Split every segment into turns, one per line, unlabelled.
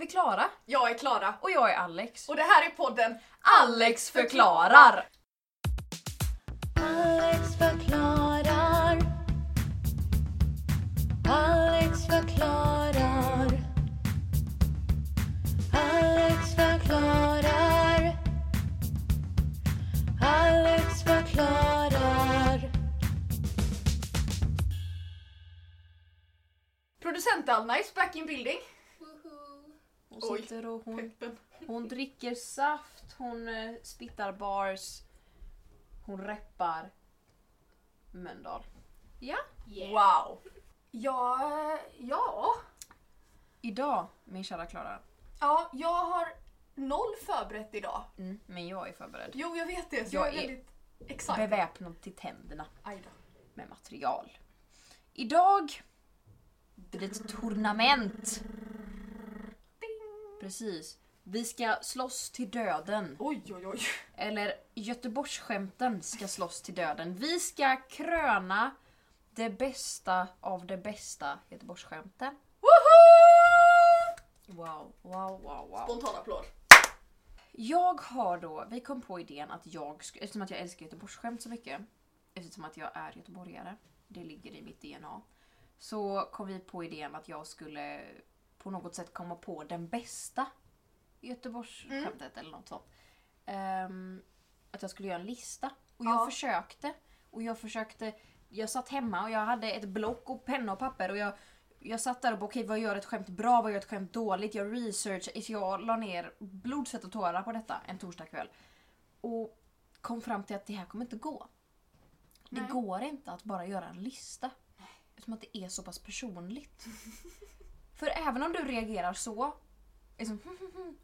vi Klara
Jag är Klara
och jag är Alex.
och det här är podden
Alex förklarar!
Alex förklarar. Alex förklarar. Alex förklarar. Alex förklarar.
Producent Alnice back in building.
Hon
Oj.
sitter och hon,
Peppen.
hon dricker saft, hon eh, spittar bars, hon reppar Mölndal. Ja.
Wow. Ja, ja.
Idag, min kära Klara.
Ja, jag har noll förberett idag.
Men jag är förberedd.
Jo, jag vet det. Så
Jag
jag, är
är
väldigt excited.
Beväpnad till tänderna
Aj då.
med material. Idag blir det ett tournament. Precis. Vi ska slåss till döden.
Oj, oj, oj.
Eller Göteborgsskämten ska slåss till döden. Vi ska kröna det bästa av det bästa Göteborgsskämten.
Woho!
Wow, wow, wow, wow.
Spontan applåd.
Jag har då, vi kom på idén att jag, sk- eftersom att jag älskar Göteborgsskämt så mycket, eftersom att jag är göteborgare, det ligger i mitt DNA, så kom vi på idén att jag skulle på något sätt komma på den bästa Göteborgsskämtet eller något sånt. Ehm, att jag skulle göra en lista. Och jag
Ja.
försökte. Och jag försökte, jag satt hemma och jag hade ett block och penna och papper och jag, jag satt där och bara okej vad gör ett skämt bra, vad gör ett skämt dåligt? Jag researchade, så jag la ner blod, svett och tårar på detta en torsdagkväll. Och kom fram till att det här kommer inte gå.
Nej.
Det går inte att bara göra en lista. Eftersom att det är så pass personligt. För även om du reagerar så, liksom,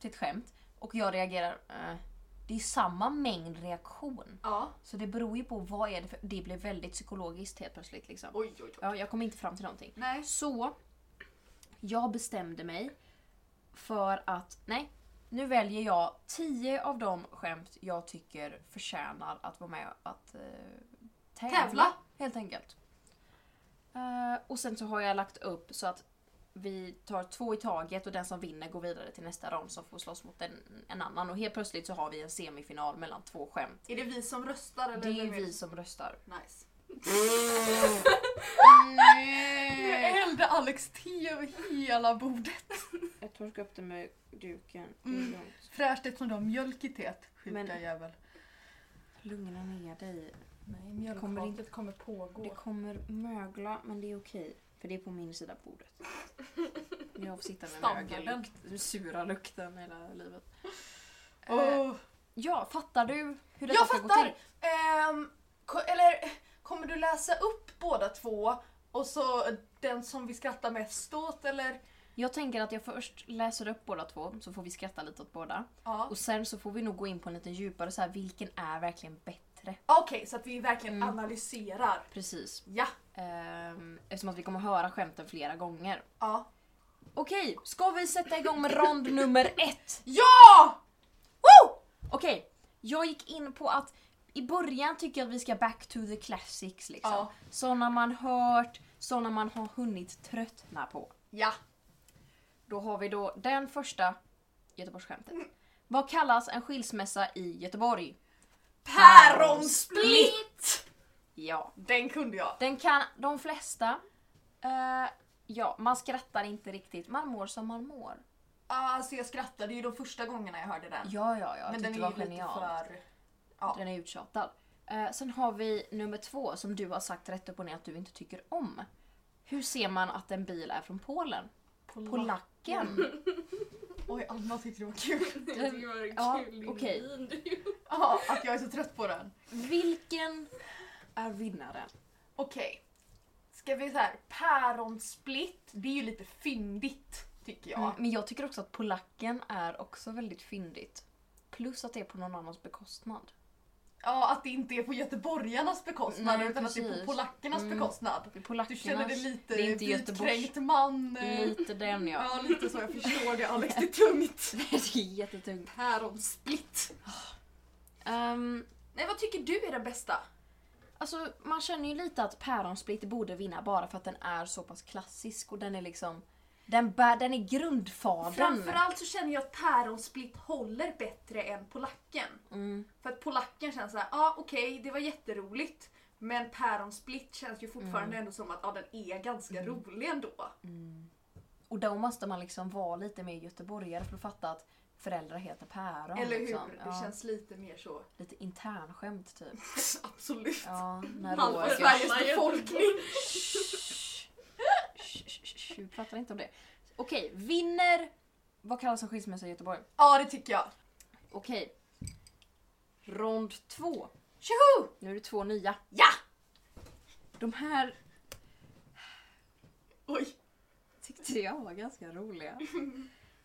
till ett skämt, och jag reagerar eh, det är samma mängd reaktion.
Ja.
Så det beror ju på vad är det för... Det blir väldigt psykologiskt helt plötsligt. Liksom.
Oj, oj, oj.
Ja, jag kom inte fram till någonting.
Nej.
Så jag bestämde mig för att nej, nu väljer jag 10 av de skämt jag tycker förtjänar att vara med att eh, tävla,
Tävla.
Helt enkelt. Eh, och sen så har jag lagt upp så att vi tar två i taget och den som vinner går vidare till nästa rond som får slåss mot en, en annan. Och helt plötsligt så har vi en semifinal mellan två skämt.
Är det vi som röstar eller?
Det är
vem
ju vi som röstar.
Nice. Jag
Nej.
hällde Alex te över hela bordet.
Jag torkar upp det med duken.
Mm. Fräscht eftersom du har mjölk i teet. Sjuka
Men-
jävel.
Lugna ner dig.
Nej, mjölkhatet
Kommer
kommer,
inte-
kommer pågå.
Det kommer mögla, men det är okej. För det är på min sida av bordet. Jag får sitta med
Standarden.
mögellukt. Den sura lukten hela livet. Eh,
Åh.
ja, fattar du hur detta
Jag
ska gå
fattar.
till?
Ehm, ko- eller kommer du läsa upp båda två och så den som vi skrattar mest åt eller?
Jag tänker att jag först läser upp båda två, så får vi skratta lite åt båda.
Ja.
Och sen så får vi nog gå in på en lite djupare så här, vilken är verkligen bättre?
Okej, så att vi verkligen
Mm.
analyserar.
Precis.
Ja.
Ehm, eftersom att vi kommer höra skämten flera gånger.
Ja!
Okej, ska vi sätta igång med rond nummer ett?
Ja!
Woo! Okej, jag gick in på att i början tycker jag att vi ska back to the classics liksom.
Ja.
Såna man hört, såna man har hunnit tröttna på.
Ja!
Då har vi då den första Göteborgsskämtet. Vad kallas en skilsmässa i Göteborg?
Päronsplitt!
Ja,
Den kunde jag.
den kan de flesta. Eh, ja, man skrattar inte riktigt, man mår som man mår.
Alltså jag skrattade ju de första gångerna jag hörde den.
Ja, ja, ja. jag
Men
tyckte
den
det
är
var
ju lite
genialt.
för... Ja.
Den är uttjatad. Eh, sen har vi nummer två som du har sagt rätt upp och ner att du inte tycker om. Hur ser man att en bil är från Polen? Polacken?
Oj, Anna tyckte det var kul.
Jag tycker det var en
Ja,
kul
okej.
ironin du gjorde.
Ja, att jag är så trött på den.
Vilken är vinnaren?
Okej. Ska vi så här, päronsplitt, det är ju lite fyndigt tycker jag.
Mm, men jag tycker också att polacken är också väldigt fyndigt. Plus att det är på någon annans bekostnad.
Ja, att det inte är på göteborgarnas bekostnad
Nej,
utan att det är
precis.
på polackernas
Mm.
bekostnad.
Det är
Du
Polackernas,
känner dig lite
det är inte Göteborgs... Mm.
vitkränkt man. eh,
Lite den ja.
Ja, lite så. Jag förstår det Alex, det är tungt.
det är jättetungt.
Päronsplitt.
Ehm,
Nej, vad tycker du är den bästa?
Alltså man känner ju lite att Päronsplitt borde vinna bara för att den är så pass klassisk och den är liksom Den, bär, den är grundfadern.
Framförallt så känner jag att päronsplitt håller bättre än polacken.
Mm.
För att polacken känns såhär, ja ah, okej det var jätteroligt. Men päronsplitt känns ju fortfarande ändå som att ah, den är ganska rolig ändå.
Och då måste man liksom vara lite mer göteborgare för att fatta att föräldrar heter päron.
Eller hur?
Liksom.
Det
Ja,
känns lite mer så.
Lite internskämt typ.
Absolut.
Ja, när
Halva
Roger...
Sveriges befolkning.
Shh, shh, shh, Vi pratar inte om det. Okej, vinner... Vad kallas en skilsmässa i Göteborg?
Ja det tycker jag.
Okej. Rond två.
Tjoho!
Nu är det två nya.
Ja!
De här
Oj.
tyckte jag var ganska roliga.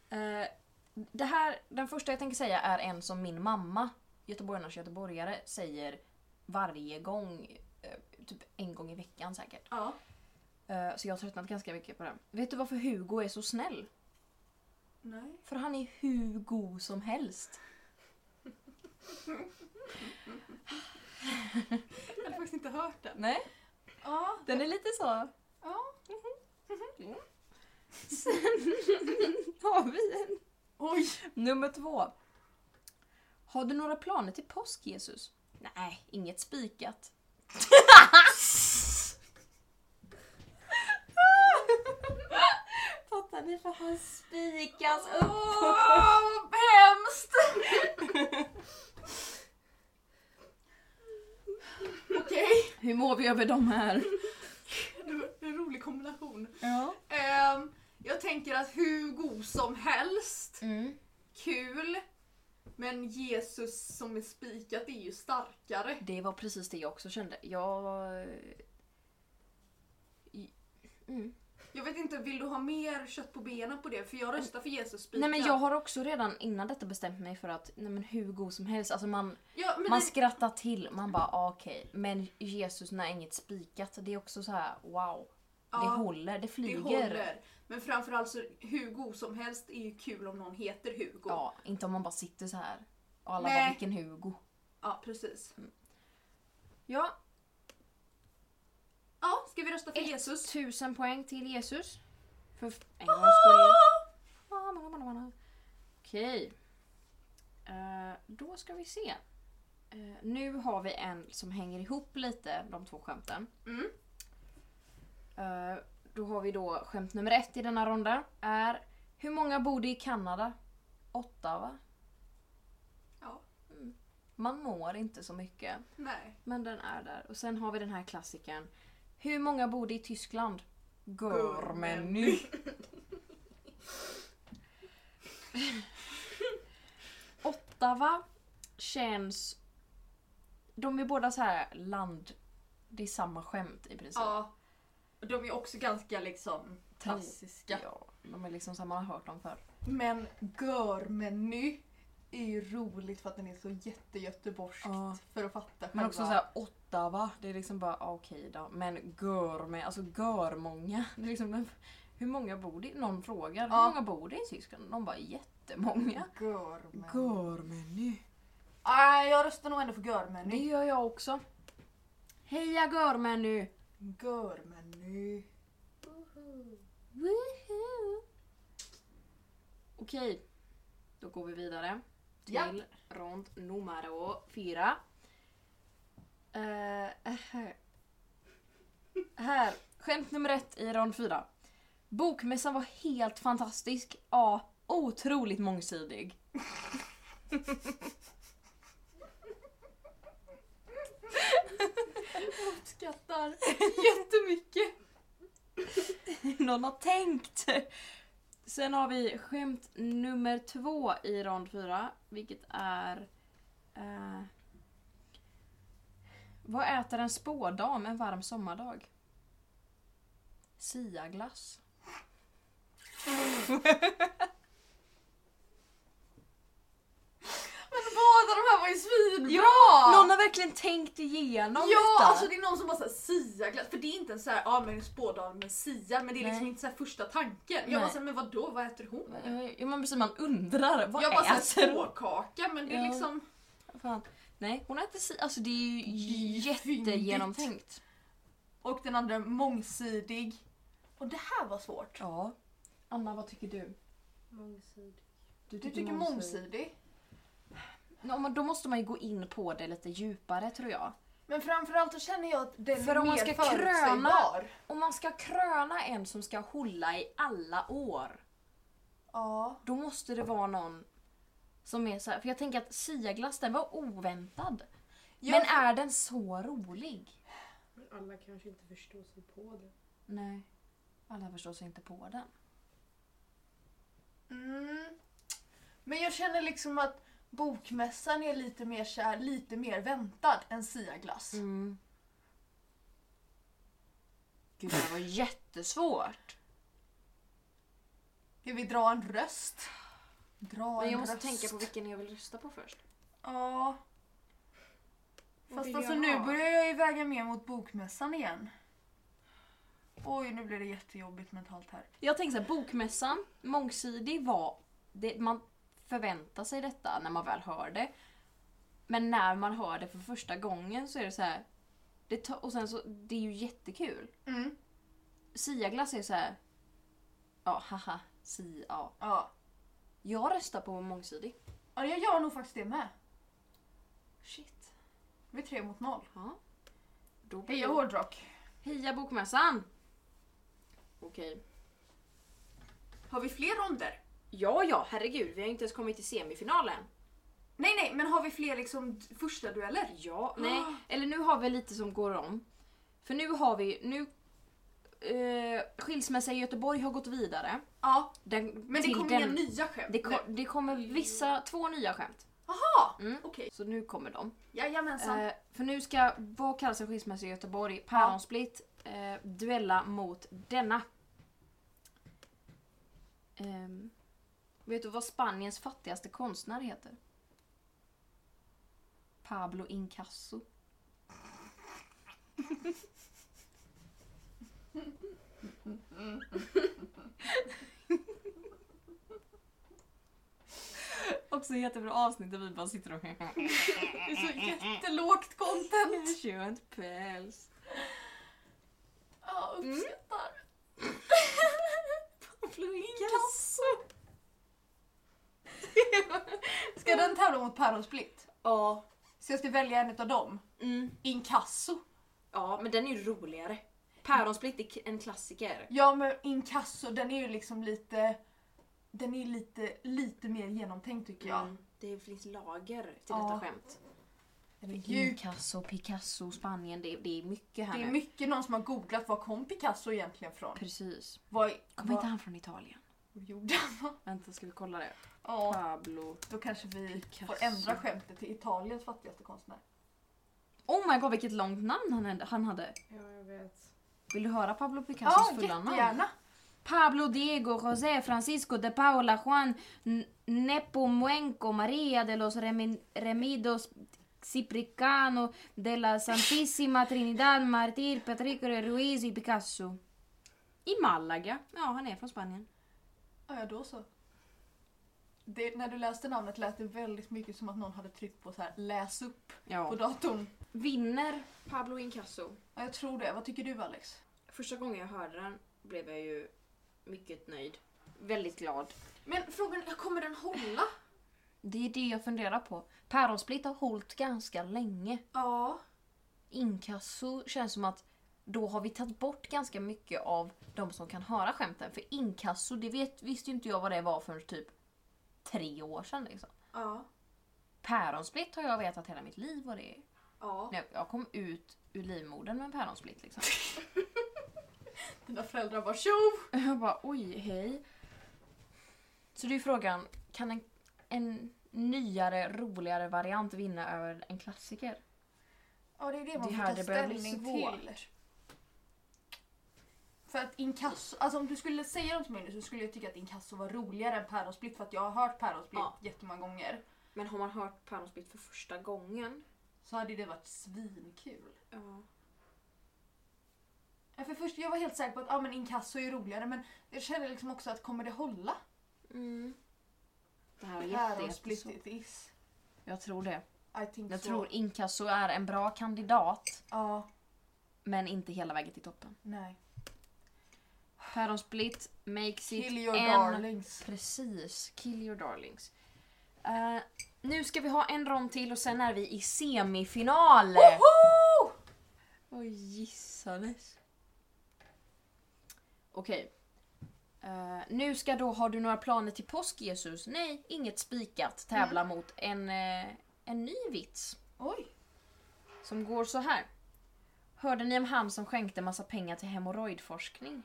Eh, det här, den första jag tänker säga är en som min mamma, göteborgarnas göteborgare, säger varje gång. eh, Typ en gång i veckan säkert.
Ja.
Eh, Så jag har tröttnat ganska mycket på den. Vet du varför Hugo är så snäll?
Nej.
För han är hur god som helst.
Jag hade faktiskt inte hört den.
Nej,
Ja.
den är lite så...
ja.
Mm. Har vi en?
Oj.
Nummer två. Har du några planer till påsk, Jesus? Nej, inget spikat. Fattar ni? För han spikas
Åh vad hemskt! Okej.
Hur mår vi över de här?
Det var En rolig kombination.
Ja.
Ehm, jag tänker att hur god som helst,
Mm.
kul. Men Jesus som är spikat är ju starkare.
Det var precis det jag också kände. Jag... Mm.
Jag vet inte, vill du ha mer kött på benen på det? För jag röstar för Jesus spikat.
Nej men jag har också redan innan detta bestämt mig för att nej men hur god som helst, alltså man,
Ja, men
man
det-
skrattar till, man bara ah, okej. Men Jesus när inget spikat, det är också så här wow. Det
ja,
håller, det
det
flyger.
håller. Men framförallt så, hur god som helst är ju kul om någon heter Hugo. Ja,
Ja, inte om man bara sitter så här. Och alla
Nej.
bara vilken Hugo.
precis.
Ja,
Ja, ska vi rösta för Jesus?
tusen poäng till Jesus. För f- en gångs skull. Okej. Eh, då ska vi se. Eh, nu har vi en som hänger ihop lite, de två skämten.
Mm.
Eh, då har vi då skämt nummer ett i denna ronda. Är Hur många bor det i Kanada? Åtta va? Mm.
Ja,
Man mår inte så mycket.
nej.
Men den är där. Och sen har vi den här klassiken. Hur många bor det i Tyskland? Görmeny. Ottawa känns... De är båda så här land... Det är samma skämt i princip.
Ja. De är också ganska liksom klassiska.
Ja, de är liksom som man har hört dem förr.
Men görmeny är ju roligt för att den är så jättegöteborgskt
Ja.
för att fatta själva.
Men också såhär Ottawa, det är liksom bara ah, okej då. Men gör med, alltså gör många. Det är liksom, men hur många bor det? Någon frågar hur
Ja.
många bor det i Tyskland? De bara jättemånga.
Görmeny.
Görmeny.
Nej, jag röstar nog ändå för
Det
görmeny.
gör jag också. Heja görmeny!
Görmeny.
Woohoo! Okej, då går vi vidare till
Ja.
rond numero fyra. Eh, eh, här, skämt nummer ett i rond fyra. Bokmässan var helt fantastisk. Ja, otroligt mångsidig.
Skrattar jättemycket.
Någon har tänkt! Sen har vi skämt nummer två i rond fyra, vilket är... Eh, vad äter en spådam en varm sommardag? Siaglass.
Men båda de här var ju svinbra!
Någon har verkligen tänkt igenom
Ja,
detta!
alltså det är någon som bara såhär siaglass. För det är inte en såhär, ja men spådam med sia, men det är liksom
Nej.
inte såhär första tanken.
Nej.
Jag bara såhär, men vadå, vad äter hon?
Ja, men precis, man undrar. Vad
jag bara såhär,
äter hon?
spåkaka, men det är
Ja.
liksom...
Fan. Nej, hon äter si... Alltså det är ju
Det är fyndigt.
jättegenomtänkt.
Och den andra mångsidig. Och det här var svårt.
Ja. Anna, vad tycker du?
Mångsidig.
Du tycker mångsidig.
Ja, men då måste man ju gå in på det lite djupare tror jag.
Men framförallt så känner jag att den
För
är
om man ska
mer
kröna-
förutsägbar.
Om man ska kröna en som ska hålla i alla år,
Ja.
då måste det vara någon som är så här. För jag tänker att siaglass den var oväntad.
Jag,
Men är den så rolig?
Men alla kanske inte förstår sig på det.
Nej. Alla förstår sig inte på den.
mm, men jag känner liksom att bokmässan är lite mer så här, lite mer väntad än siaglass.
Mm. Gud, det var jättesvårt.
Ska vi dra en röst? Dra
Men
en
jag måste
röst.
tänka på vilken jag vill rösta på först.
Ja.
Vad
Fast
vill
alltså
jag
nu
ha?
börjar jag ju väga mer mot bokmässan igen. Oj, nu blir det jättejobbigt mentalt här.
Jag tänker såhär, bokmässan, mångsidig var... Det, man förväntar sig detta när man väl hör det. Men när man hör det för första gången så är det så här. Det, ta- och sen så, det är ju jättekul.
Mm.
Siaglass är ju så här. Ja, haha. Si, ja.
Ja.
Jag röstar på mångsidig.
ja, jag gör nog faktiskt det med.
Shit.
Vi är tre mot noll.
Ja. Då blir
Heja
jag-
hårdrock!
Heja bokmässan! Okej.
Har vi fler ronder?
Ja, ja, herregud. Vi har inte ens kommit till semifinalen.
Nej, nej, men har vi fler liksom första dueller?
Ja, nej.
Ah.
Eller nu har vi lite som går om. För nu har vi... Nu, eh, skilsmässa i Göteborg har gått vidare.
Ja,
Den,
men det
till
kommer
den-
inga nya skämt.
det, kom, det kommer vissa, två nya skämt.
Jaha!
Mm.
Okej,
Så nu kommer de.
jajamensan.
Eh, för nu ska Vad kallas en skilsmässa i Göteborg? Päronsplitt eh, duella mot denna. Ehm, vet du vad Spaniens fattigaste konstnär heter? Pablo Incasso. Också jättebra avsnitt där vi bara sitter och
Det är så jättelågt content.
Skönt päls.
Ja,
Mm.
uppskattar.
Inkasso.
Ska den tävla mot Päronsplitt?
Ja.
Så jag ska välja en av dem?
Mm.
Inkasso.
Ja, men den är ju roligare. Päronsplitt är k- en klassiker.
Ja men inkasso den är ju liksom lite den är lite, lite mer genomtänkt tycker jag.
Mm. Det finns lager till
Ja.
detta skämt.
Den är djup.
Picasso, Picasso, Spanien. Det, det är mycket här
Det är
nu.
mycket någon som har googlat var kom Picasso egentligen från?
Precis.
Vad
Kommer inte
vad
han från Italien?
gjorde han?
Vänta, ska vi kolla det?
Ja,
Pablo.
då kanske vi
Picasso.
får ändra skämtet till Italiens fattigaste konstnär.
Oh my god, vilket långt namn han, hade- han hade.
Ja, jag vet.
Vill du höra Pablo Picassos
Ja,
fulla namn?
jättegärna.
Pablo, Diego, José, Francisco, de Paula, Juan, N- Nepomuenco, María de los Remi- Remidos, Cipricano, de la Santísima Trinidad, Martir, Patrico de Ruiz y Picasso. I Malaga. Ja, han är från Spanien.
Ja, ja, då så. Det, när du läste namnet lät det väldigt mycket som att någon hade tryckt på så här läs upp på
Ja.
datorn.
Vinner Pablo Incasso?
Ja, jag tror det. Vad tycker du Alex?
Första gången jag hörde den blev jag ju mycket nöjd. Väldigt glad.
Men frågan är, kommer den hålla?
Det är det jag funderar på. Päronsplitt har hållit ganska länge.
Ja.
inkasso känns som att då har vi tagit bort ganska mycket av de som kan höra skämten. För inkasso, det vet, visste ju inte jag vad det var för typ tre år sedan. Liksom.
Ja.
Päronsplitt har jag vetat hela mitt liv vad det är.
Ja.
När Jag, jag kom ut ur livmodern med en päronsplitt. Liksom.
Dina föräldrar bara tjo!
Jag bara oj, hej. Så det är ju frågan, kan en, en nyare, roligare variant vinna över en klassiker?
Ja det är det man
Det
får
här,
ta
det börjar bli
ställning
svårt.
till. För att inkasso, alltså om du skulle säga något till mig nu så skulle jag tycka att inkasso var roligare än päronsplitt för att jag har hört päronsplitt
Ja.
jättemånga gånger.
Men har man hört päronsplitt för första gången?
Så hade det varit svinkul.
Ja.
Ja, För först, jag var helt säker på att ah, men inkasso är roligare men jag kände liksom också att kommer det hålla?
Mm. Det här var
Päronsplitt
jättesvårt.
it is.
Jag tror det.
I think
Jag
so.
tror inkasso är en bra kandidat,
Ja,
men inte hela vägen till toppen.
nej.
Päronsplitt Makes it
Kill your
en...
darlings.
Precis, kill your darlings. Eh, nu ska vi ha en rond till och sen är vi i semifinal!
Woho!
Oj, gissades. Okej. Eh, nu ska då, har du några planer till påsk Jesus? Nej, inget spikat. Tävla mot en, eh, en ny vits
Oj.
som går så här. Hörde ni om han som skänkte massa pengar till hemorrojdforskning?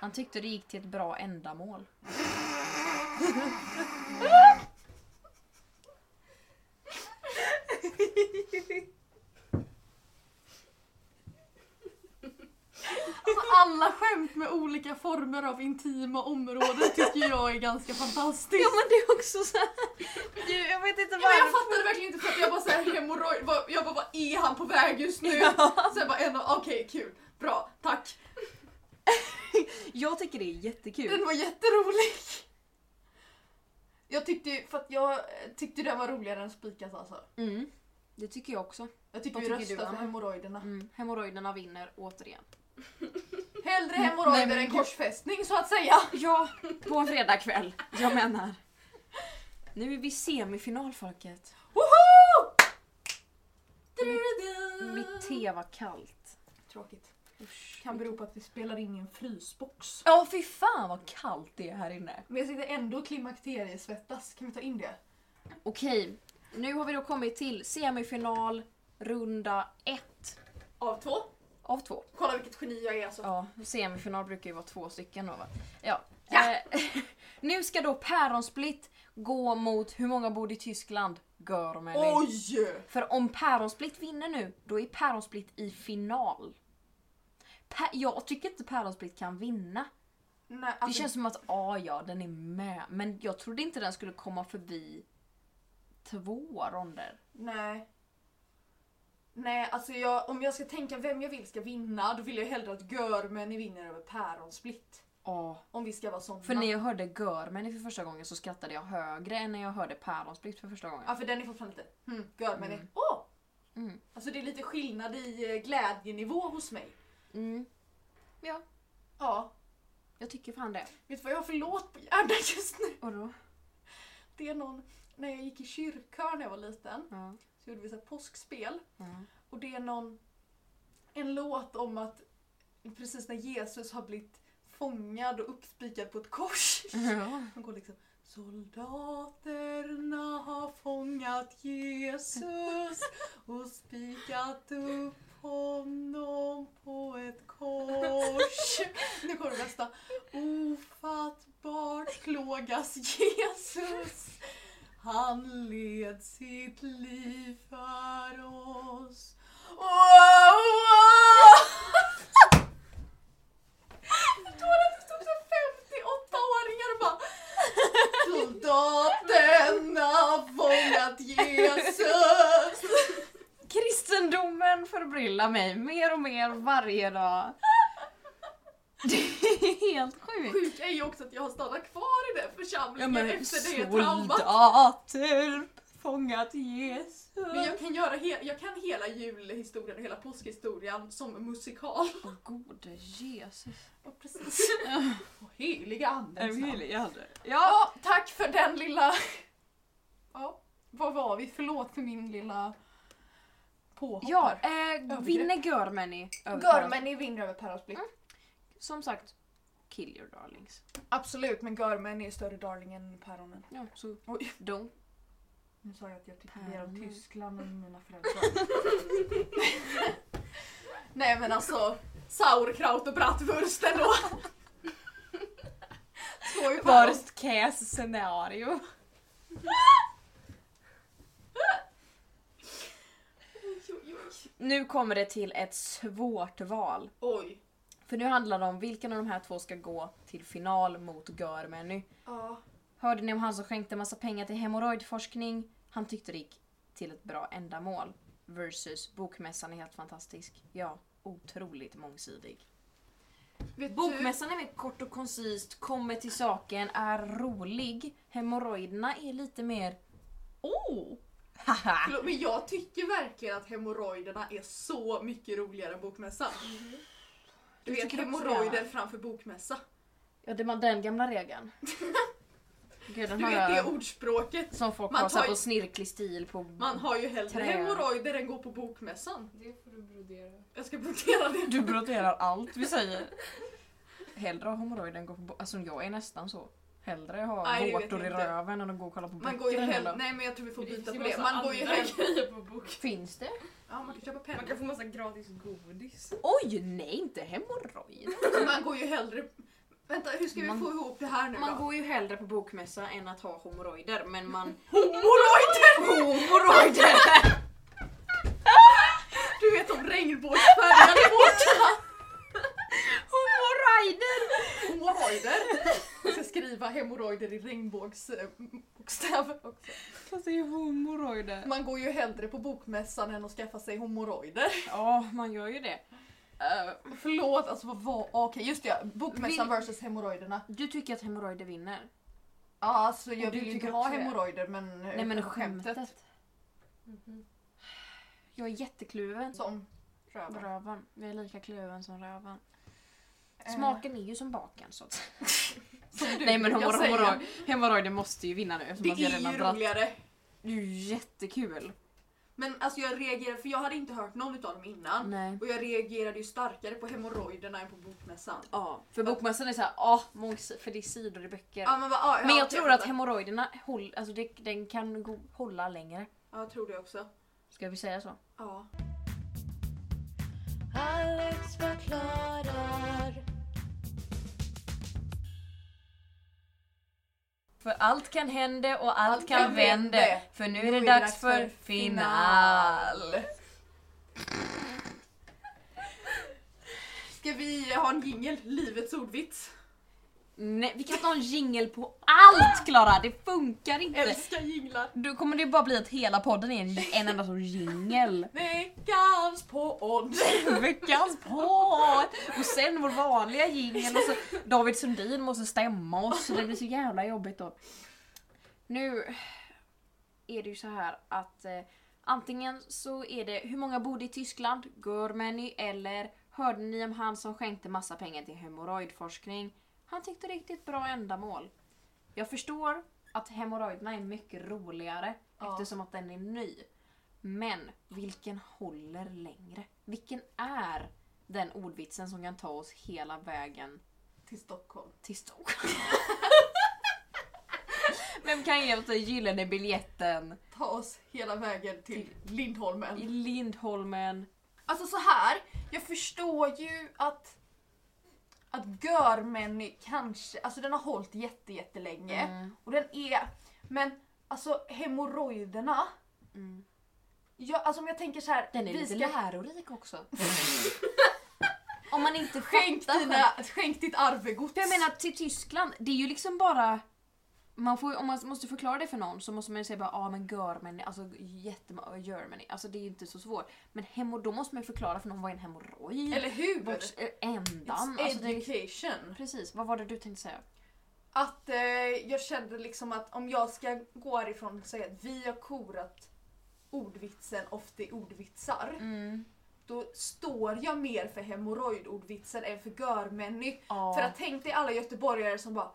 Han tyckte det gick till ett bra ändamål.
Alltså alla skämt med olika former av intima områden tycker jag är ganska fantastiskt.
Ja men det är också så här. Du, jag vet inte
Ja, men jag
varför.
fattade verkligen inte för att jag bara såhär hemorrojd, vad- jag bara vad är han på väg just nu? Sen bara en av, okej kul, bra, tack.
Jag tycker det är jättekul.
Den var jätterolig. Jag tyckte ju- för att jag tyckte den var roligare än spikat alltså.
Mm, det tycker jag också.
Jag tycker
Vad
vi
tycker du,
röstar för
Anna?
hemorrojderna.
Mm, hemorrojderna vinner återigen.
Hellre
Nej,
hemorrojder
men
än
gud.
korsfästning så att säga.
Ja, på en fredagkväll. Jag menar. Nu är vi i semifinal folket.
Woho!
Mitt te var kallt.
Tråkigt. Kan bero på att vi spelar in i en frysbox.
Ja fy fan vad kallt det är här inne.
Men jag sitter ändå och klimakteriesvettas, kan vi ta in det?
Okej, nu har vi då kommit till semifinal runda ett
Av två.
av två.
Kolla vilket geni jag är alltså.
Ja, semifinal brukar ju vara två stycken då va? Ja.
Ja.
Eh, nu ska då Päronsplitt gå mot hur många bor i Tyskland? Görmelin.
Oj!
För om Päronsplitt vinner nu, då är Päronsplitt i final. Pä- jag tycker inte Päronsplitt kan vinna.
Nej,
Det
alltså,
känns som att ah, ja, den är med. Men jag trodde inte den skulle komma förbi två ronder.
nej. Nej, alltså jag, om jag ska tänka vem jag vill ska vinna, då vill jag hellre att Görmeni vinner över Päronsplitt.
Ja.
Om vi ska vara såna.
För när jag hörde Görmeny för första gången så skrattade jag högre än när jag hörde Päronsplitt för första gången.
Ja, för den är fortfarande lite hmm, Görmeni. Åh!
Mm.
Alltså det är lite skillnad i eh, glädjenivå hos mig.
Mm. Ja,
Ja.
jag tycker fan det.
Vet du vad jag har för låt på hjärnan just nu?
Och då?
Det är någon, när jag gick i kyrkkör när jag var liten,
Ja.
så gjorde vi så här påskspel.
Ja.
Och det är någon, en låt om att precis när Jesus har blivit fångad och uppspikad på ett kors.
ja.
Han går liksom Soldaterna har fångat Jesus och spikat upp honom på ett kors. Nu kommer det nästa. Ofattbart plågas Jesus. Han led sitt liv för oss. Wow, wow. Då var det att det stod så här 58-åringar och bara Soldaterna fångat Jesus.
Kristendomen förbryllar mig mer och mer varje dag. Det är helt sjukt.
Sjukt är ju också att jag har stannat kvar i den församlingen efter det traumat.
soldater fångat Jesus.
Men jag kan, göra he- jag kan hela julhistorien och hela påskhistorien som musikal.
Åh gode Jesus.
Och precis. Och heliga andens namn.
Ja.
Ja, tack för den lilla... Ja, vad var vi? Förlåt för min lilla påhoppar.
Ja, eh, vinner Görmeny över Pärons-
Görmeni vinner över Päronsplitt.
Som sagt, kill your darlings.
Absolut, men Görmeni är större darling än päronen.
Ja, så
Oj.
don't.
Nu sa jag att jag tycker mer
Päronen.
om Tyskland än mina föräldrar. Nej men alltså, sauerkraut och bratwurst ändå. Två ju päron.
case scenario.
Oj, oj.
Nu kommer det till ett svårt val.
Oj.
För nu handlar det om vilken av de här två ska gå till final mot Görmeny.
Ja.
Hörde ni om han som skänkte massa pengar till hemorrojdforskning? Han tyckte det gick till ett bra ändamål. Versus bokmässan är helt fantastisk. Ja, otroligt mångsidig.
Vet du?
Bokmässan är mer kort och koncist, kommer till saken, är rolig. Hemorrojderna är lite mer... Oh! Haha!
Förlåt, Men jag tycker verkligen att hemorrojderna är så mycket roligare än bokmässan. Du,
Du
vet
tycker också
hemorrojder
det?
framför bokmässa.
Ja, det var den gamla regeln. Gud, den
Du vet det
här
ordspråket.
som folk
man
har så här
tar-
på snirklig stil på...
Man har ju hellre
Trä.
hemorrojder än gå på bokmässan.
Det får du brodera.
Jag ska blockera det.
Du broderar allt vi säger. Hellre ha hemorrojder än gå på bo- Alltså jag är nästan så. Hellre ha
Nej, det vet
vårtor i
jag inte.
röven än att gå och kolla på
Man går ju
hela
hellre...
dagen.
Nej men jag tror vi får
Det
byta
finns ju
på det.
massa
Man går ju
andra
hellre...
grejer på bok.
Finns det?
Ja man kan köpa
Man kan
pennor.
få massa gratis godis.
Oj, nej inte hemorrojder.
Man går ju hellre... Vänta hur ska vi
Man-
få ihop det här nu
Man
då?
går ju hellre på bokmässa än att ha hemorrojder men man...
Hemorrojder!
Hemorrojder!
Du vet de regnbågsfärgade båtarna!
Hemorrojder!
Hemorrojder! Jag ska skriva hemorrojder i eh, regnbågsbokstäver också.
Fast det är ju hemorrojder.
Man går ju hellre på bokmässan än att skaffa sig hemorrojder.
Ja, man gör ju det. Eh,
Förlåt, alltså vad var... Okej, just det. Bokmässan versus hemorrojderna.
du tycker att hemorrojder vinner?
Ja, alltså jag
Och du
vill ju inte
tycker
ha
också det?
hemorrojder men... eh,
Nej men skämtet.
Mhm.
Jag är jättekluven.
Som rövar.
Röven. Jag är lika kluven som röven.
Eh,
Smaken är ju som baken så att...
som du
Nej men
brukar
hemorroj-
säga.
hemorroj- hemorrojder måste ju vinna nu
Det
eftersom att jag
är
redan
ju
dratt-
roligare.
Det är ju jättekul.
Men alltså jag reagerade, för jag hade inte hört någon utav dem innan.
Nej.
Och jag reagerade ju starkare på hemorrojderna än på bokmässan.
Ja, för bokmässan är såhär, ja, mångs- för det är sidor i böcker.
Ja, men, va, ja,
Men
ja,
jag
okej,
tror att
fattar.
hemorrojderna, håll, alltså det, den kan go- hålla längre.
Ja, jag tror det också.
Ska vi säga så?
Ja.
Alex förklarar.
För allt kan hända och allt,
Allt
kan,
kan
vända.
vända.
För nu är det dags för final.
Ska vi ha en jingel? Livets ordvits.
Nej, vi kan inte ha en jingel på allt Klara, det funkar inte.
Älskar jinglar.
Då kommer det ju bara bli att hela podden är en, en enda sorts jingel.
Veckans podd!
Veckans podd! Och sen vår vanliga jingel och så David Sundin måste stämma oss så det blir så jävla jobbigt då. Nu är det ju så här att eh, antingen så är det hur många bodde i Tyskland, Görmeny eller hörde ni om han som skänkte massa pengar till hemorrojdforskning? Han tyckte riktigt bra ändamål. Jag förstår att hemorrojderna är mycket roligare
Ja.
eftersom att den är ny. Men vilken håller längre? Vilken är den ordvitsen som kan ta oss hela vägen
Till Stockholm.
till Stockholm? Vem kan ge oss den gyllene biljetten?
Ta oss hela vägen till Lindholmen.
I Lindholmen.
Alltså så här, jag förstår ju att att Görmeny kanske, alltså den har hållit jätte, jättelänge
Mm.
och den är, men alltså hemorrojderna,
Mm.
jag, alltså om jag tänker så här,
Den är
vi
lite
ska-
lärorik också. Om man inte
skänk,
fattar själv.
dina, skänk ditt arvegods.
För jag menar till Tyskland, det är ju liksom bara... Man får, ju- om man måste förklara det för någon så måste man ju säga bara ah, men Germany, alltså jättemånga Germany, alltså det är ju inte så svårt. Men hemor, då måste man ju förklara för någon vad är en hemorrojd?
Eller hur?
Vart är ändan?
It's
Alltså, det, är-
education.
precis, vad var det du tänkte säga?
Att eh, jag kände liksom att om jag ska gå härifrån och säga att vi har korat ordvitsen ofta i ordvitsar. Då står jag mer för hemorrojdordvitsen än för görmänny.
Ja.
För att tänk dig alla göteborgare som bara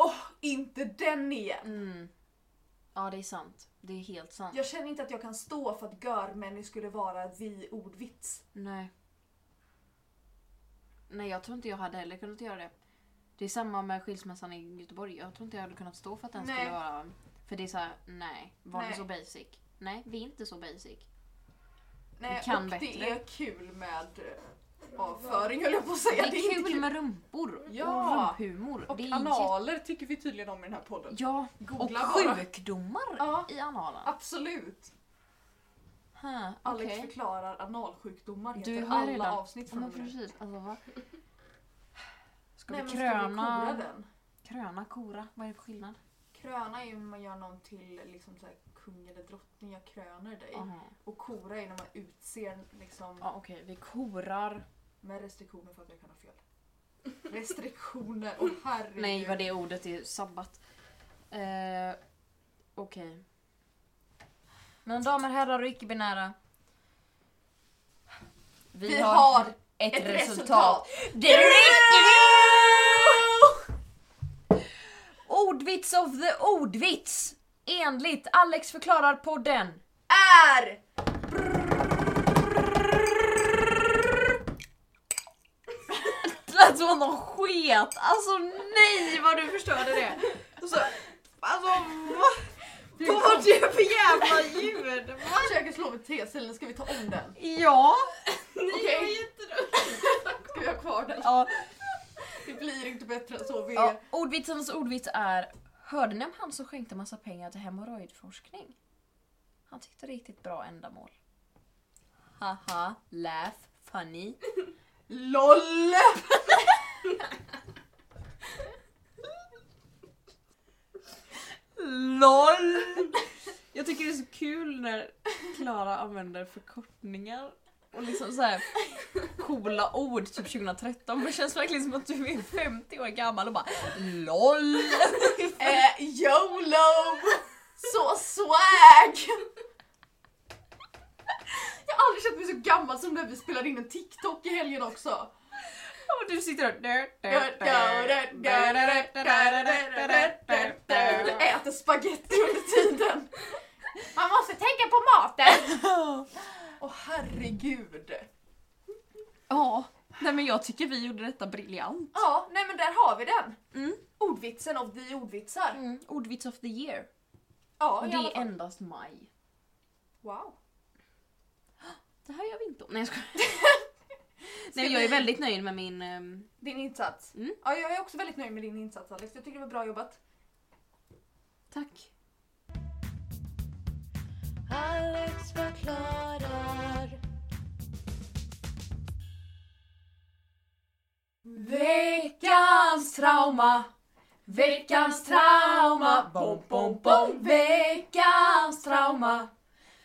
Åh, inte den igen!
Mm. Ja det är sant, det är helt sant.
Jag känner inte att jag kan stå för att görmänny skulle vara vi ordvits.
Nej. Nej jag tror inte jag hade heller kunnat göra det. Det är samma med skilsmässan i Göteborg. Jag tror inte jag hade kunnat stå för att den
Nej.
skulle vara... För det är såhär, nej. Var det
Nej.
så basic? Nej, vi är inte så basic.
Nej,
Vi kan
och
bättre.
det är kul med eh, avföring höll jag på att säga.
det är
inte
kul med rumpor och
Ja.
rumphumor.
Och
det är jätte-
analer tycker vi tydligen om i den här podden.
Ja, och
Googla bara.
sjukdomar
Ja.
i analen.
Absolut!
Huh,
Alex
okej.
förklarar analsjukdomar
Du
heter
har
alla
redan-
avsnitt
Ja,
från
men
och med nu.
precis. Alltså, va? Ska
Nej,
vi
men
kröna...
Ska vi kora den?
kröna, kora? Vad är det för skillnad?
Kröna är ju när man gör någon till liksom så här, kung eller drottning, jag kröner dig.
Aha.
Och kora är när man utser liksom,
Ja, okej, vi korar.
med restriktioner för att jag kan ha fel. Restriktioner, åh herregud.
Nej, vad det ordet är sabbat. Eh, Okej. Men damer, herrar och icke-binära.
Vi har
ett,
ett
resultat.
resultat.
Det räcker! Ordvits of the ordvits! Enligt Alex förklarar podden.
Är!
Det lät som att någon sket. Alltså nej vad du förstörde det.
Och så, alltså vad, vad var det för jävla ljud? Jag försöker slå med T-cellen, ska vi ta om den?
Ja.
Okej. Ska vi ha kvar den?
ja.
Det blir inte bättre än så. Vi
ja. Ordvitsens ordvits är. Hörde ni om han som skänkte massa pengar till hemorrojdforskning? Han tyckte riktigt bra ändamål. Haha, laugh, funny.
LOL!
LOL! Jag tycker det är så kul när Klara använder förkortningar och liksom så här coola ord typ 2013 men det känns verkligen som att du är 50 år gammal och bara LOL!
Eh, YOLO! Så swag! Jag har aldrig känt mig så gammal som när vi spelade in en TikTok i helgen också.
Och du sitter och...
Äter spagetti under tiden. Man måste tänka på maten. Åh herregud.
Ja, nej men jag tycker vi gjorde detta briljant.
Ja, nej men där har vi den.
Mm.
Ordvitsen av de ordvitsar.
Mm, ordvits of the year.
Ja,
Och
i
det
alla
är
fall.
endast maj.
Wow.
Det här gör vi inte om. Nej jag skojar. Nej men jag är väldigt nöjd med min... ehm,
Din insats.
Mm.
Ja, jag är också väldigt nöjd med din insats Alex. Jag tycker det var bra jobbat.
Tack.
Alex förklarar.
Veckans trauma. Veckans trauma. Bom, bom, bom. Veckans trauma.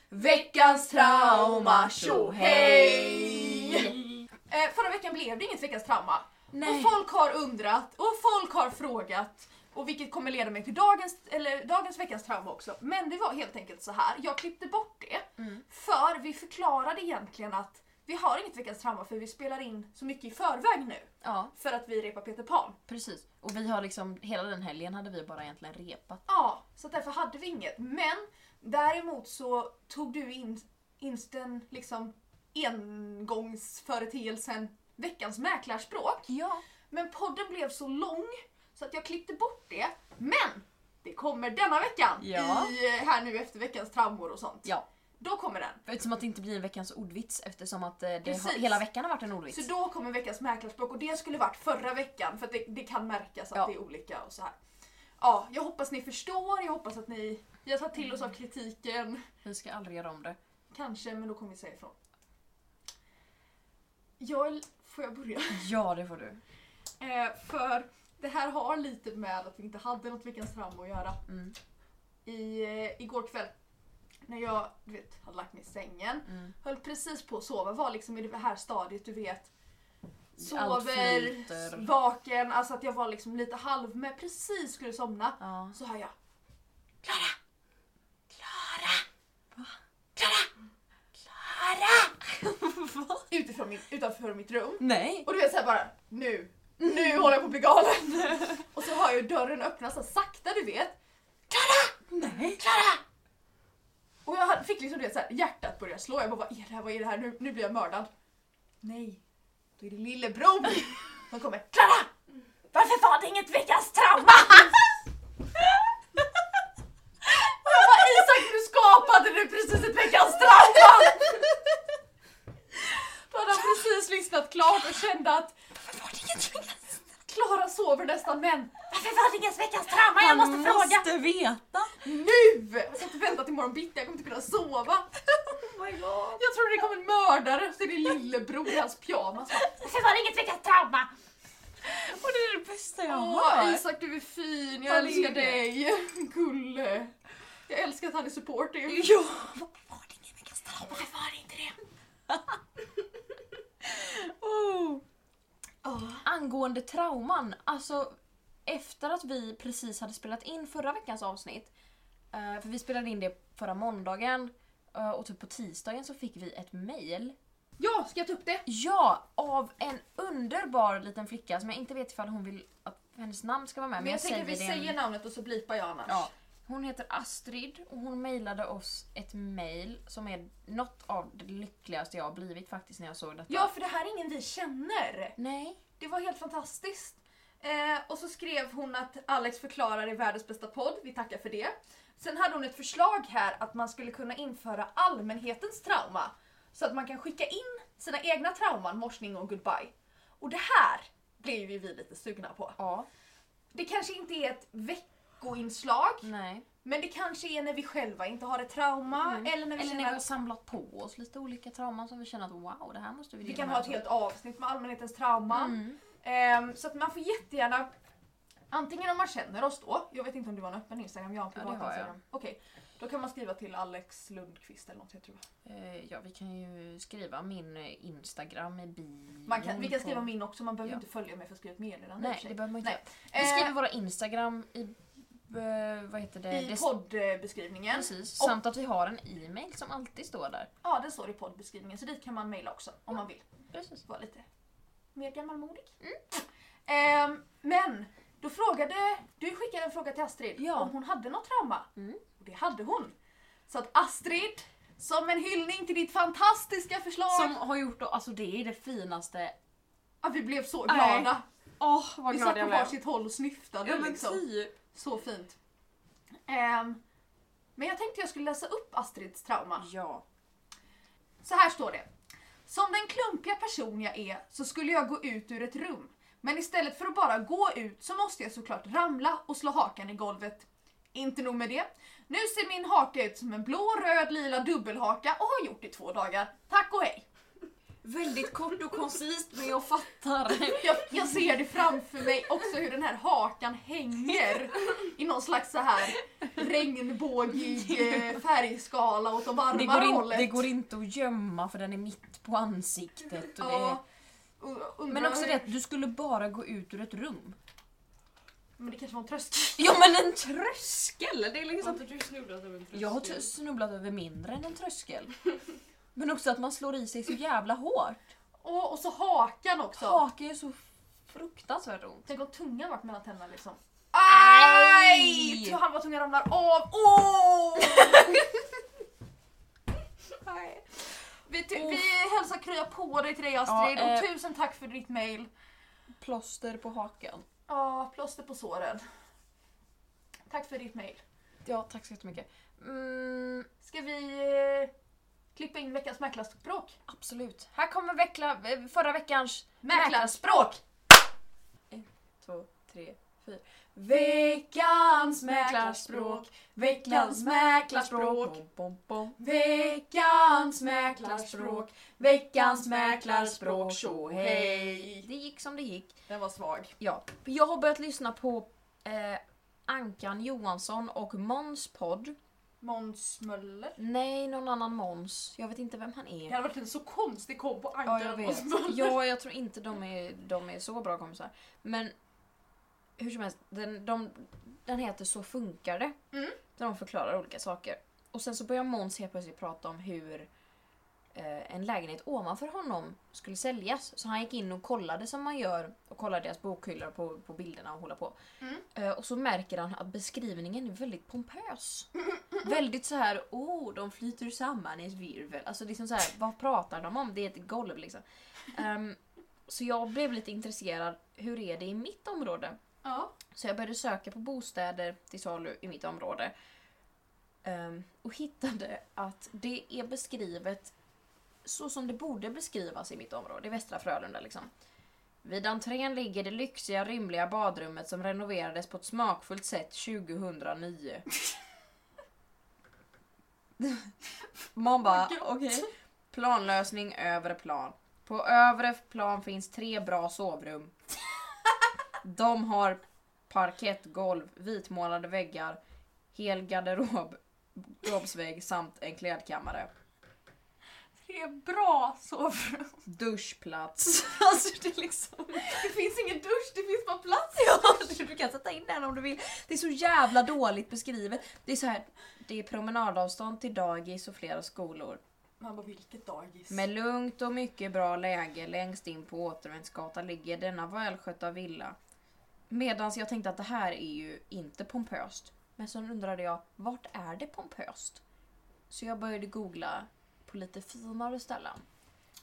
Veckans trauma. Tjo hej! Eh, förra veckan blev det inget veckans trauma. Och folk har undrat och folk har frågat. Och vilket kommer leda mig till dagens, eller dagens veckans trauma också. Men det var helt enkelt så här. jag klippte bort det.
Mm.
För vi förklarade egentligen att vi har inget veckans trauma för vi spelar in så mycket i förväg nu.
Ja,
För att vi repar Peter Pan.
precis. Och vi har liksom, hela den helgen hade vi bara egentligen repat.
Ja, så därför hade vi inget. Men däremot så tog du in, in den liksom engångsföreteelsen veckans mäklarspråk.
Ja.
Men podden blev så lång så att jag klippte bort det. Men det kommer denna veckan!
Ja.
I, eh, här nu efter veckans traumor och sånt.
Ja.
Då kommer den.
Eftersom att det inte blir en veckans ordvits eftersom att eh, det har,
Precis.
hela veckan har varit en ordvits.
Så då kommer veckans mäklarspråk och det skulle varit förra veckan för att det, det kan märkas att
Ja.
det är olika och så här. Ja, jag hoppas ni förstår, jag hoppas att ni... Jag tar till oss av kritiken.
Vi ska aldrig göra om det.
Kanske, men då kommer vi säga ifrån. Jag... är- Får jag börja?
Ja, det får du.
Eh, för det här har lite med att vi inte hade något veckans trauma att göra.
Mm.
i, eh, igår kväll när jag du vet, hade lagt mig i sängen,
Mm.
höll precis på att sova, var liksom i det här stadiet du vet.
Allt
Sover,
flyter.
vaken, alltså att jag var liksom lite halv med precis skulle somna.
Ja.
Så hör jag Klara! Klara! Va? Klara! Klara! Utifrån min, utanför mitt rum.
Nej!
Och du vet såhär bara, nu,
Mm.
nu håller jag på att bli galen. och så hör jag dörren öppnas så här sakta du vet.
Nej!
Och jag hade- fick liksom det så här, hjärtat börja slå. Jag bara vad är det här, vad är det här, nu, nu blir jag mördad. Nej, då är det lillebror som kommer. Klara! Varför var det inget veckans trauma? Och jag bara Isak du skapade nu precis ett veckans trauma! Då hade han precis lyssnat klart och kände att Klara sover nästan men varför var det inget veckans trauma? Jag måste
Han
fråga!
måste veta!
Nu! Jag ska inte vänta till imorgon bitti, jag kommer inte kunna sova.
Oh my god.
Jag tror det kommer en mördare, så är det lillebror i hans pyjamas.
Varför var det inget veckans trauma?
Och det är det bästa jag
Åh
har hört!
Isak du är fin, jag
Vad är
älskar
det?
dig. Gulle. Jag älskar att han är supportive.
Ja! Var det ingen veckans trauma?
Varför var det inte det?
Oh.
Ja.
Angående trauman, alltså efter att vi precis hade spelat in förra veckans avsnitt, eh, för vi spelade in det förra måndagen eh, och typ på tisdagen så fick vi ett mail.
Ja, ska jag ta upp det?
Ja, av en underbar liten flicka som jag inte vet ifall hon vill att hennes namn ska vara med.
Men jag, tänker
säger
vi
det
säger namnet och så blipar jag annars.
Ja. Hon heter Astrid och hon mejlade oss ett mejl som är något av det lyckligaste jag har blivit faktiskt när jag såg detta.
Ja, för det här är ingen vi känner.
Nej.
Det var helt fantastiskt. Eh, och så skrev hon att Alex förklarar i världens bästa podd. Vi tackar för det. Sen hade hon ett förslag här att man skulle kunna införa allmänhetens trauma. Så att man kan skicka in sina egna trauman, morsning och goodbye. Och det här blev ju vi lite sugna på.
Ja.
Det kanske inte är ett veckoinslag,
Nej.
men det kanske är när vi själva inte har ett trauma eller när
Mm.
vi
Eller när vi
känner
har
att
samlat på oss lite olika trauman som vi känner att wow, det här måste vi
vi
dela
kan
med
ha ett
oss av.
helt avsnitt med allmänhetens trauma.
Mm.
Ehm, så att man får jättegärna Antingen om man känner oss då, jag vet inte om du har en öppen Instagram, jag har en
Ja, det
privat
har jag.
Instagram. Okej, då kan man skriva till Alex Lundqvist eller något jag tror.
Eh, Ja, vi kan ju skriva min eh, Instagram i bion.
Man kan, vi kan
på-
skriva min också, man behöver
Ja.
inte följa mig för att skriva ett meddelande. i och
Nej,
för
det
sig.
behöver man inte
Nej.
göra. Vi skriver
Eh,
våra Instagram i... eh, vad heter det?
I
det
poddbeskrivningen.
Precis,
Och-
samt att vi har en e-mail som alltid står där.
Ja, det står i poddbeskrivningen så dit kan man mejla också om man vill.
Precis.
vara lite mer gammalmodig.
Mm.
Ehm, men då frågade, du skickade en fråga till Astrid
Ja.
om hon hade något trauma.
Mm.
Och det hade hon. Så att Astrid, som en hyllning till ditt fantastiska förslag.
Som har gjort, alltså det är det finaste.
Ja, vi blev så
Nej,
glada.
Åh vad
vi satt på varsitt håll och snyftade.
Ja men
liksom.
typ.
Så fint. Ehm, men jag tänkte jag skulle läsa upp Astrids trauma.
Ja.
Så här står det. Som den klumpiga person jag är så skulle jag gå ut ur ett rum. Men istället för att bara gå ut så måste jag såklart ramla och slå hakan i golvet. Inte nog med det. Nu ser min haka ut som en blå, röd, lila dubbelhaka och har gjort i två dagar. Tack och hej!
Väldigt kort och koncist men jag fattar.
Jag, jag ser det framför mig också hur den här hakan hänger i någon slags så här regnbågig eh, färgskala åt de
Det
varma
går, in,
hållet.
det går inte att gömma för den är mitt på ansiktet. Och det...
Ja, och- undrar
Men också
hur-
det att du skulle bara gå ut ur ett rum.
Men det kanske var en tröskel.
Ja men en tröskel! Det är
Har
liksom...
inte du snubblat över en tröskel?
Jag har t- snubblat över mindre än en tröskel. Men också att man slår i sig så jävla hårt.
Åh, och så hakan också.
Hakan är så fruktansvärt ont.
Tänk om tungan varit mellan tänderna liksom.
Aj!
Aj! Halva tungan ramlar av. Åh! Nej. Vi, ty- vi hälsar krya på dig till dig Astrid
Ja, eh.
och tusen tack för ditt mail.
Plåster på hakan.
Ja, plåster på såren. Tack för ditt mail.
Ja, tack så jättemycket. Mm,
Ska vi eh, klippa in veckans mäklarspråk?
absolut. Här kommer veckla, eh, förra veckans...
Mäklarspråk!
Två, tre, fyra.
Veckans
Mäklarspråk, veckans mäklarspråk. Bom, bom, bom.
Veckans
mäklarspråk, veckans mäklarspråk. Så hej. Det gick som det gick.
Den var svag.
Ja, jag har börjat lyssna på eh, Ankan Johansson och Måns podd.
Måns Möller.
Nej, någon annan Måns. Jag vet inte vem han är.
Det hade varit en så konstig komp på
Ja,
Ankan
jag
och
vet.
Smull.
Ja, jag tror inte de är, de är så bra kompisar. Men hur som helst, den, de, den heter Så funkar det.
Mm.
Där de förklarar olika saker. Och sen så börjar Måns helt plötsligt prata om hur eh, en lägenhet ovanför honom skulle säljas. Så han gick in och kollade som man gör och kollade deras bokhyllor på, på bilderna och hålla på.
Mm.
Eh, och så märker han att beskrivningen är väldigt pompös. Väldigt så här, oh, de flyter samman i ett virvel. Alltså liksom så här, vad pratar de om? Det är ett golv liksom. Ehm, så jag blev lite intresserad, hur är det i mitt område?
Ja.
Så jag började söka på bostäder till salu i mitt område. Ehm, och hittade att det är beskrivet så som det borde beskrivas i mitt område, i Västra Frölunda liksom. Vid entrén ligger det lyxiga rymliga badrummet som renoverades på ett smakfullt sätt 2009. Man bara, okej. Planlösning övre plan. På övre plan finns tre bra sovrum. De har parkettgolv, vitmålade väggar, hel garderob, garderobsvägg samt en klädkammare.
Det är bra sovrum.
Duschplats. Alltså det är liksom...
Det finns ingen dusch, det finns bara plats.
Du kan sätta in den om du vill. Det är så jävla dåligt beskrivet. Det är så här, det är promenadavstånd till dagis och flera skolor.
Man bara, vilket dagis?
Med lugnt och mycket bra läge längst in på Återvändsgatan ligger denna välskötta villa. Medan jag tänkte att det här är ju inte pompöst. Men sen undrade jag, vart är det pompöst? Så jag började googla på lite finare ställen.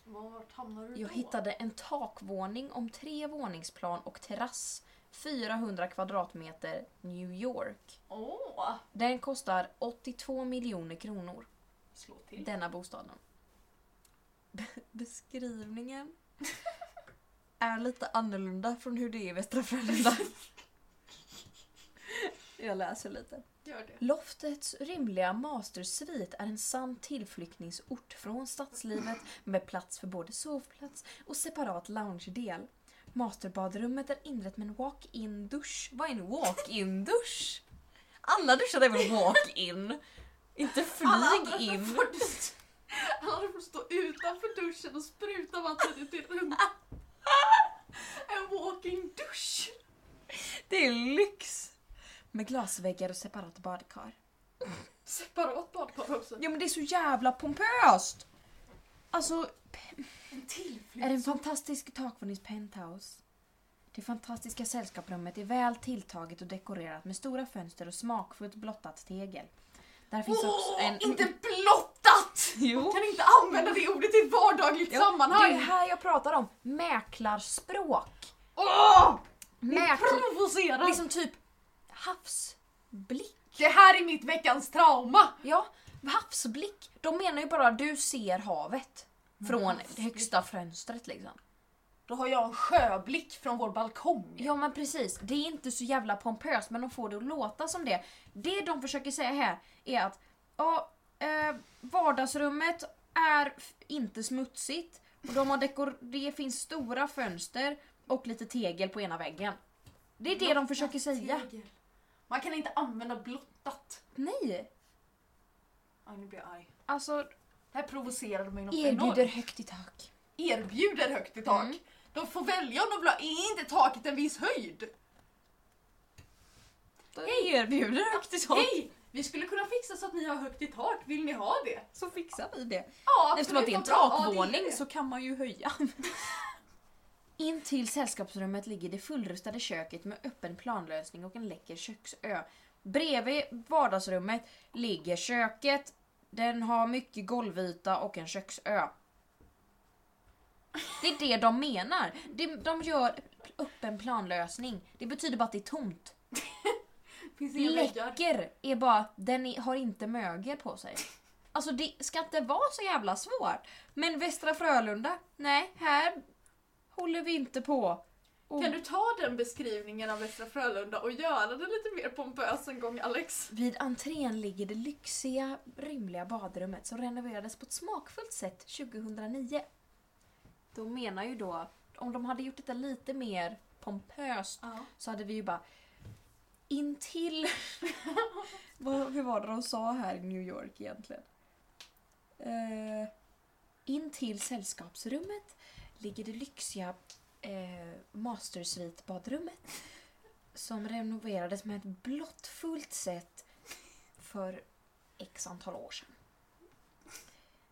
Vart hamnar du
Jag
då?
hittade en takvåning om tre våningsplan och terrass. 400 kvadratmeter New York.
Åh!
Den kostar 82 miljoner kronor.
Slå till.
Denna bostaden. Be- Beskrivningen är lite annorlunda från hur det är i Västra Frölunda. Jag läser lite.
Gör det.
Loftets rymliga mastersvit är en sann tillflyktningsort från stadslivet med plats för både sovplats och separat loungedel. Masterbadrummet är inrett med en walk-in dusch. Vad är en walk-in dusch? Alla duschar är väl walk-in? Inte flyg
andra
in.
får, du- alla andra får stå utanför duschen och spruta vattnet ut i rummet. En walking dusch!
Det är lyx! Med glasväggar och separat badkar.
Separat badkar också.
Ja men det är så jävla pompöst! Alltså,
En
är det en
tillflykt.
fantastisk takvånings penthouse? Det fantastiska sällskaprummet är väl tilltaget och dekorerat med stora fönster och smakfullt blottat tegel. Där finns också
Åh,
en...
inte blottat!
Jo!
Kan inte använda det ordet i ett vardagligt
Jo, Det är
sammanhang.
här jag pratar om mäklarspråk.
Åh!
Mäklar...
Provocerad!
Liksom typ havsblick.
Det här är mitt veckans trauma!
Ja, havsblick. De menar ju bara du ser havet. Från högsta fönstret liksom.
Då har jag en sjöblick från vår balkong.
Ja men precis, det är inte så jävla pompöst men de får det att låta som det. Det de försöker säga här är att ja, eh, vardagsrummet är f- inte smutsigt. Och de har dekor- det finns stora fönster och lite tegel på ena väggen. Det är det de försöker säga.
Tegel. Man kan inte använda blottat.
Nej,
Aj, nu blir jag arg.
alltså
Det här provocerade mig något
erbjuder
enormt.
högt i tak.
Erbjuder högt i tak.
Mm.
De får välja om de vill ha, är inte taket en viss höjd?
Hej! Erbjuder högt i tak.
Hej! Vi skulle kunna fixa så att ni har högt i tak, vill ni ha det?
Så fixar vi det.
Ja,
Eftersom att det är en
absolut, vad bra. Ja, det är
takvåning
det.
så kan man ju höja. In till sällskapsrummet ligger det fullrustade köket med öppen planlösning och en läcker köksö. Bredvid vardagsrummet ligger köket. Den har mycket golvyta och en köksö. Det är det de menar. De, de gör öppen planlösning. Det betyder bara att det är tomt.
Finns inga väggar.
Läcker är bara, den är, har inte mögel på sig. Alltså det ska inte vara så jävla svårt. Men Västra Frölunda, nej här håller vi inte på. Och
Kan du ta den beskrivningen av Västra Frölunda och göra den lite mer pompös en gång Alex?
Vid entrén ligger det lyxiga, rymliga badrummet som renoverades på ett smakfullt sätt 2009. Då menar ju då, om de hade gjort detta lite mer pompöst
Ja.
så hade vi ju bara intill... Vad, hur var det de sa här i New York egentligen? Uh, intill sällskapsrummet ligger det lyxiga uh, mastersvitbadrummet som renoverades med ett blottfullt sätt för x antal år sedan.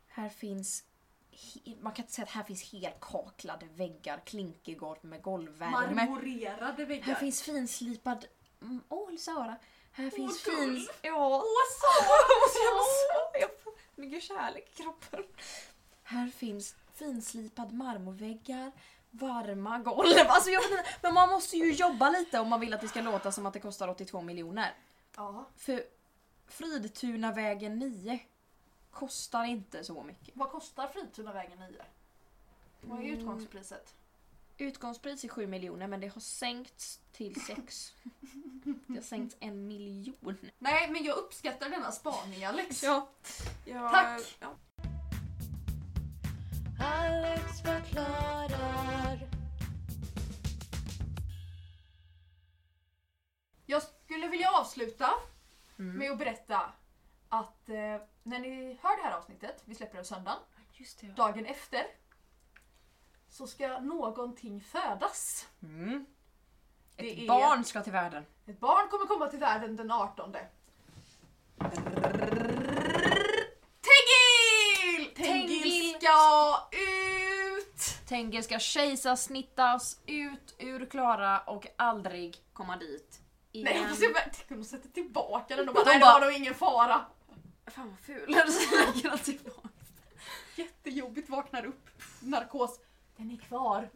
Här finns he- man kan inte säga att här finns helkaklade väggar, klinkergolv med golvvärme.
Marmorerade
Här
väggar.
finns finslipad... Mm, Åh, Sara. Här finns
Åh,
fin...
gulligt.
Ja.
Åh Sara!
Åh, jag får mycket kärlek i kroppen. Här finns finslipad marmorväggar, varma golv. Alltså jag vet inte, men man måste ju jobba lite om man vill att det ska låta som att det kostar 82 miljoner.
Ja.
För Fridtunavägen 9 kostar inte så mycket.
Vad kostar Fritunavägen 9? Vad är
Mm.
utgångspriset?
Utgångspris är 7 miljoner men det har sänkts till 6. Det har sänkts en miljon.
Nej, men jag uppskattar denna spaning Alex.
Ja.
Tack.
Ja.
Alex förklarar.
Jag skulle vilja avsluta
Mm.
med att berätta att eh, när ni hör det här avsnittet, vi släpper det söndagen,
Just det.
dagen efter, så ska någonting födas.
Mm. Ett
Det är-
barn ska till världen.
Ett barn kommer komma till världen den 18. Tengil! Tengil
Tengil.
ska ut!
tänker ska kejsarsnittas ut ur Klara och aldrig komma dit igen.
Nej, fast jag bara, tänk om de sätter tillbaka den och bara,
De
nej det
bara-
var nog ingen fara.
Fan vad ful. Så lägger han tillbaka.
Jättejobbigt, vaknar upp, narkos. Den är kvar.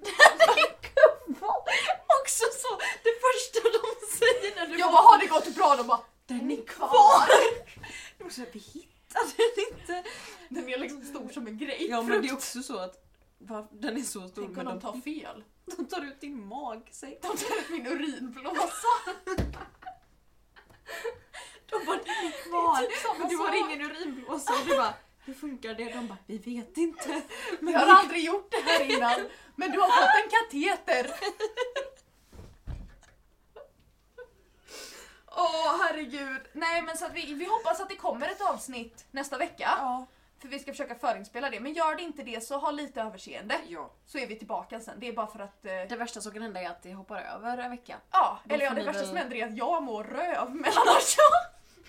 Också så, det första de säger när du
Jag bara, har det gått bra? De bara,
den är
kvar!
kvar. Så här, vi hittade den inte.
Den är liksom stor som en grej.
Ja men det är också så att va, den är så stor
Tänk om
men
de
de,
tar fel.
de tar ut din magsäck.
De tar ut min urinblåsa.
De bara den är kvar.
samma
Men du har
sak.
ingen urinblåsa och du bara hur funkar det? De bara vi vet inte. Men
Jag har aldrig gjort det här innan. Men du har fått en kateter. Åh herregud. Nej men så att vi, vi hoppas att det kommer ett avsnitt nästa vecka.
ja.
För vi ska försöka förinspela det. Men gör det inte det så ha lite överseende.
ja.
Så är vi tillbaka sen. Det är bara för att... Eh,
Det värsta som kan hända är att det hoppar över en vecka.
ja,
då
eller ja,
får
det
ni
värsta
väl-
som händer är att jag mår röv. Men annars så...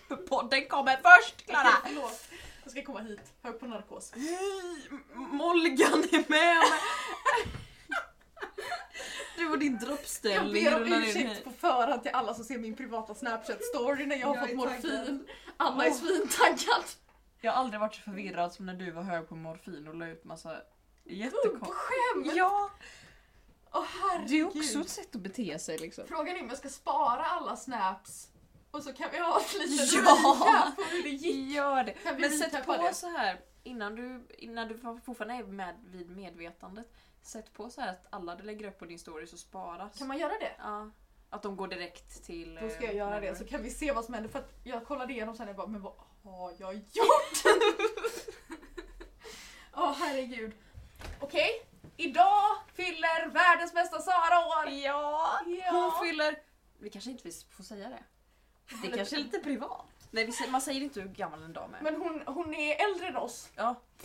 För podden kommer först Klara!
Förlåt. Jag ska komma hit. Hög på narkos.
Hej! Molgan är med mig! Du och din
Jag
droppställning
ber
rullar
om
in
ursäkt
här.
på förförhand till alla som ser min privata Snapchat-story när jag har
Jag
fått
är
morfin.
taggad.
Anna är
Åh.
svintaggad.
Jag har aldrig varit så förvirrad som när du var hög på morfin och la ut massa
På
jättekonstiga...
skämt!
Ja!
Åh
Det är
herregud.
också ett sätt att bete sig liksom.
Frågan är om jag ska spara alla snaps och så kan vi ha ett litet
Ja.
recap på hur det gick.
Gör det!
Kan vi
Men
recapa
sätt på
det?
så här innan du, innan du fortfarande är med vid medvetandet. Sätt på så här att alla du lägger upp på din story så sparas.
Kan man göra det?
Ja, att de går direkt till...
Då ska
eh,
jag göra det
memory.
så kan vi se vad som händer för att jag kollade igenom sen och bara men vad har jag gjort? Åh herregud. Okej, idag fyller världens bästa Sara år!
Ja!
Ja.
Hon fyller... Vi kanske inte får säga det. Det kanske är lite privat. Nej, vi säger, man säger inte hur gammal en dam är.
Men hon, hon är äldre än oss.
Ja.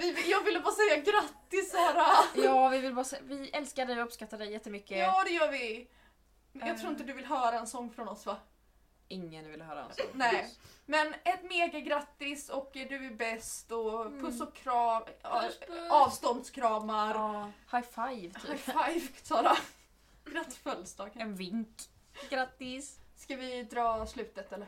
Vi, jag ville bara säga grattis Sara!
ja, vi vill bara säga... Vi älskar dig och uppskattar dig jättemycket.
Ja det gör vi! Men Jag
Eh.
tror inte du vill höra en sång från oss va?
Ingen vill höra hans ord.
Nej. Men ett mega grattis och eh, du är bäst och
Mm.
puss och kram, ja,
Puss, puss.
avståndskramar.
Ja, high five
High
typ.
five Sara! Grattis födelsedag!
En vink. Grattis.
Ska vi dra slutet eller?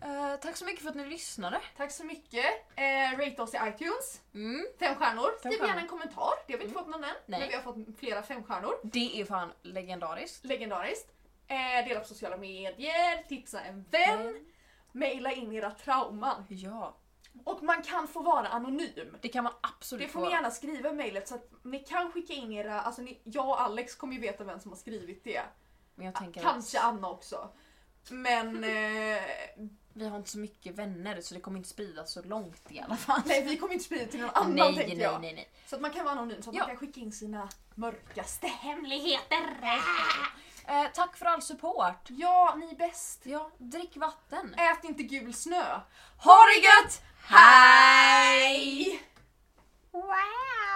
Eh, tack så mycket för att ni lyssnade.
Tack så mycket! Eh, rate oss i iTunes,
Mm.
fem stjärnor.
Fem
Skriv gärna
stjärnor. Mm.
en kommentar, det har vi inte fått någon än. Men
Nej.
vi har fått flera fem stjärnor.
Det är fan legendariskt.
Legendariskt. Eh, dela på sociala medier, tipsa en vän,
Mm.
mejla in era trauman.
Ja,
Och man kan få vara anonym.
det kan man absolut
Det får ni gärna skriva i mejlet så att ni kan skicka in era, alltså ni, jag och Alex kommer ju veta vem som har skrivit det.
Men jag tänker
Kanske
att
Anna också. Men eh,
vi har inte så mycket vänner så det kommer inte spridas så långt i alla fall.
nej, vi kommer inte sprida till någon annan
nej,
tänker
nej,
jag.
nej, nej.
Så att man kan vara anonym så att
Ja.
man kan skicka in sina mörkaste hemligheter.
Eh, tack för all support.
Ja, ni är bäst.
Ja, drick vatten.
Ät inte gul snö.
Ha det gött! Hej!
Wow!